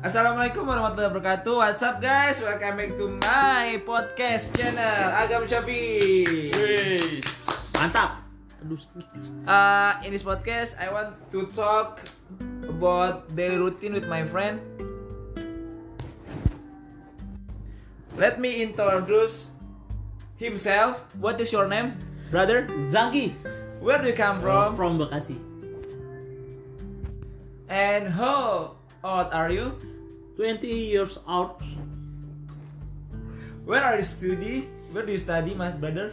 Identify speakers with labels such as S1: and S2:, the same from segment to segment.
S1: Assalamualaikum warahmatullahi wabarakatuh. What's up guys? Welcome back to my podcast channel Agam Syafi.
S2: Mantap. Aduh.
S1: Uh, in this podcast, I want to talk about daily routine with my friend. Let me introduce himself. What is your name, brother?
S2: Zaki
S1: Where do you come from?
S2: from Bekasi.
S1: And how old are you?
S2: 20 years old.
S1: Where are you study? Where do you study, my brother?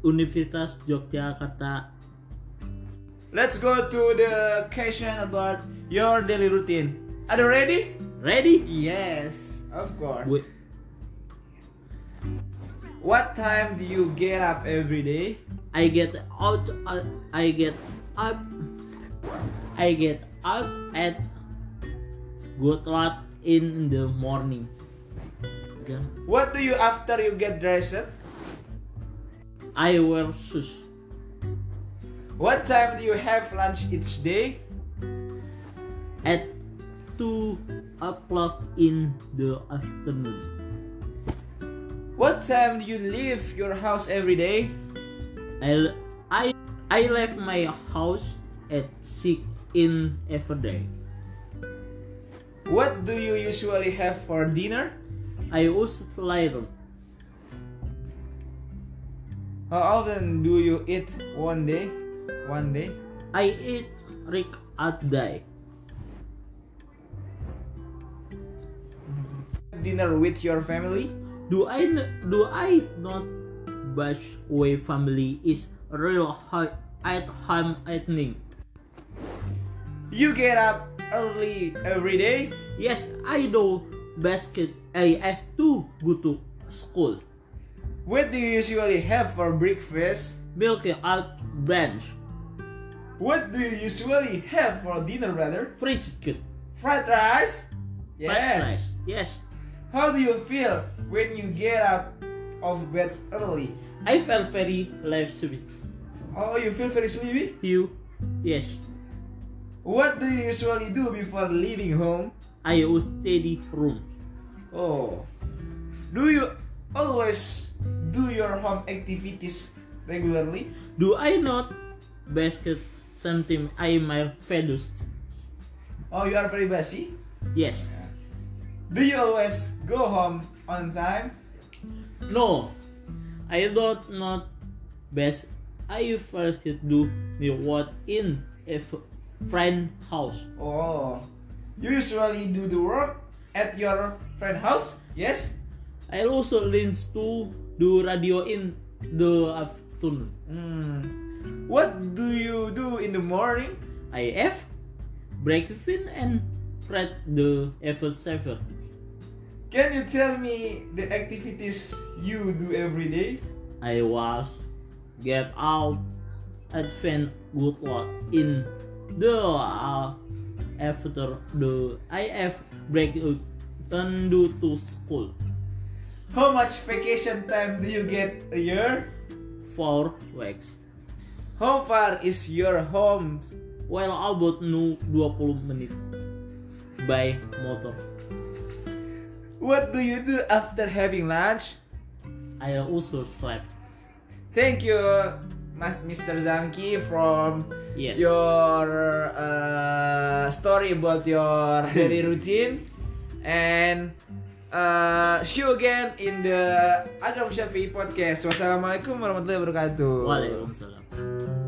S2: Universitas Yogyakarta.
S1: Let's go to the question about your daily routine. Are you ready?
S2: Ready?
S1: Yes, of course.
S2: Gue
S1: What time do you get up every day?
S2: I get out I get up I get up at good lot in the morning. Okay.
S1: What do you after you get dressed?
S2: I wear shoes.
S1: What time do you have lunch each day?
S2: at 2 o'clock in the afternoon.
S1: What time do you leave your house every day?
S2: I, I, I left my house at 6 in every day.
S1: What do you usually have for dinner?
S2: I was later.
S1: How often do you eat one day? One day.
S2: I eat Rick at day.
S1: Dinner with your family?
S2: Do I n- do I not bash way family is real high at home evening?
S1: You get up early every day?
S2: Yes, I do basket. I have to go to school.
S1: What do you usually have for breakfast?
S2: Milk out branch.
S1: What do you usually have for dinner, brother?
S2: Free chicken.
S1: Fried rice? Yes.
S2: Fried rice. Yes.
S1: How do you feel when you get out of bed early?
S2: I felt very left with
S1: Oh, you feel very sleepy?
S2: you. Yes,
S1: What do you usually do before leaving home?
S2: I was steady room.
S1: Oh. Do you always do your home activities regularly?
S2: Do I not basket something I my fadus?
S1: Oh, you are very busy.
S2: Yes.
S1: Do you always go home on time?
S2: No. I don't not best. I first do the what in a f- friend house.
S1: Oh. You usually do the work at your friend house? Yes?
S2: I also learns to do radio in the afternoon.
S1: Hmm. What do you do in the morning?
S2: I have breakfast and read the ever server.
S1: Can you tell me the activities you do every day?
S2: I was get out advent good luck in the uh, after the IF break out and do to school
S1: How much vacation time do you get a year?
S2: for weeks.
S1: How far is your home?
S2: Well about nu 20 menit by motor.
S1: What do you do after having lunch?
S2: I also slept.
S1: Thank you, Mas Mr. Zanki, from
S2: Yes.
S1: your uh, story about your daily routine, and uh, see you again in the Agam Syafi'i podcast. Wassalamualaikum warahmatullahi wabarakatuh.
S2: Waalaikumsalam.